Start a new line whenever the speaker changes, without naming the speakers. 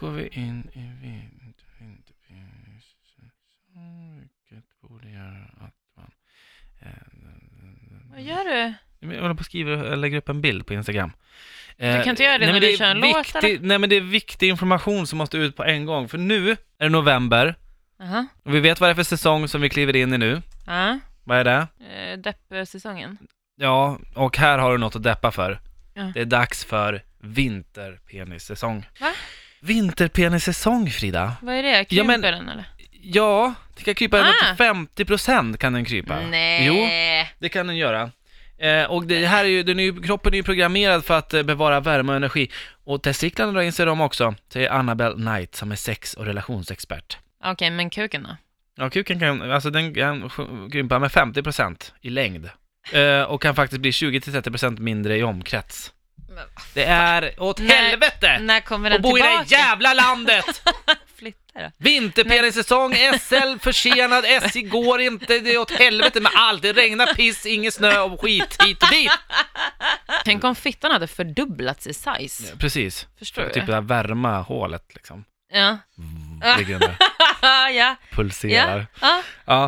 går vi in i vintervintervinter. Vilket borde göra att man...
Vad gör du?
Men Jag håller på att skriva, jag lägger upp en bild på Instagram. Eh,
kan inte göra det när vi kör en låt,
viktig, Nej men det är viktig information som måste ut på en gång. För nu är det november
Jaha.
och vi vet vad det är för säsong som vi kliver in i nu.
Ja.
Vad är det?
Eh, Depp-säsongen.
Ja, och här har du något att deppa för.
Ja.
Det är dags för vinterpenissäsong.
Va?
Vinterpenissäsong Frida.
Vad är det?
Ja,
Kryper
men-
den eller?
Ja, det kan krypa
Ah.
ända till 50% kan den krypa. Jo, Det kan den göra. Eh, och det här är ju, den är ju, kroppen är ju programmerad för att eh, bevara värme och energi. Och testiklarna drar in sig i dem också, säger Annabelle Knight som är sex och relationsexpert.
Okej, men kuken då?
Ja, kuken kan, alltså den kan sj- krympa med 50% i längd. Eh, och kan faktiskt bli 20-30% mindre i omkrets.
Men-
Det är åt
Nej.
helvete!
När kommer
Och
den
bo i det
tillbaka?
här jävla landet!
Flytta då.
Vinterpenissäsong, SL försenad, SJ går inte, det är åt helvete med allt. Det regnar piss, ingen snö och skit hit och dit.
Tänk om fittan hade fördubblats i size.
Ja, typ. precis.
Förstår du?
Typ det här värma hålet liksom.
Ja.
Ligger den där,
ja.
pulserar.
ja. ja.
Ja,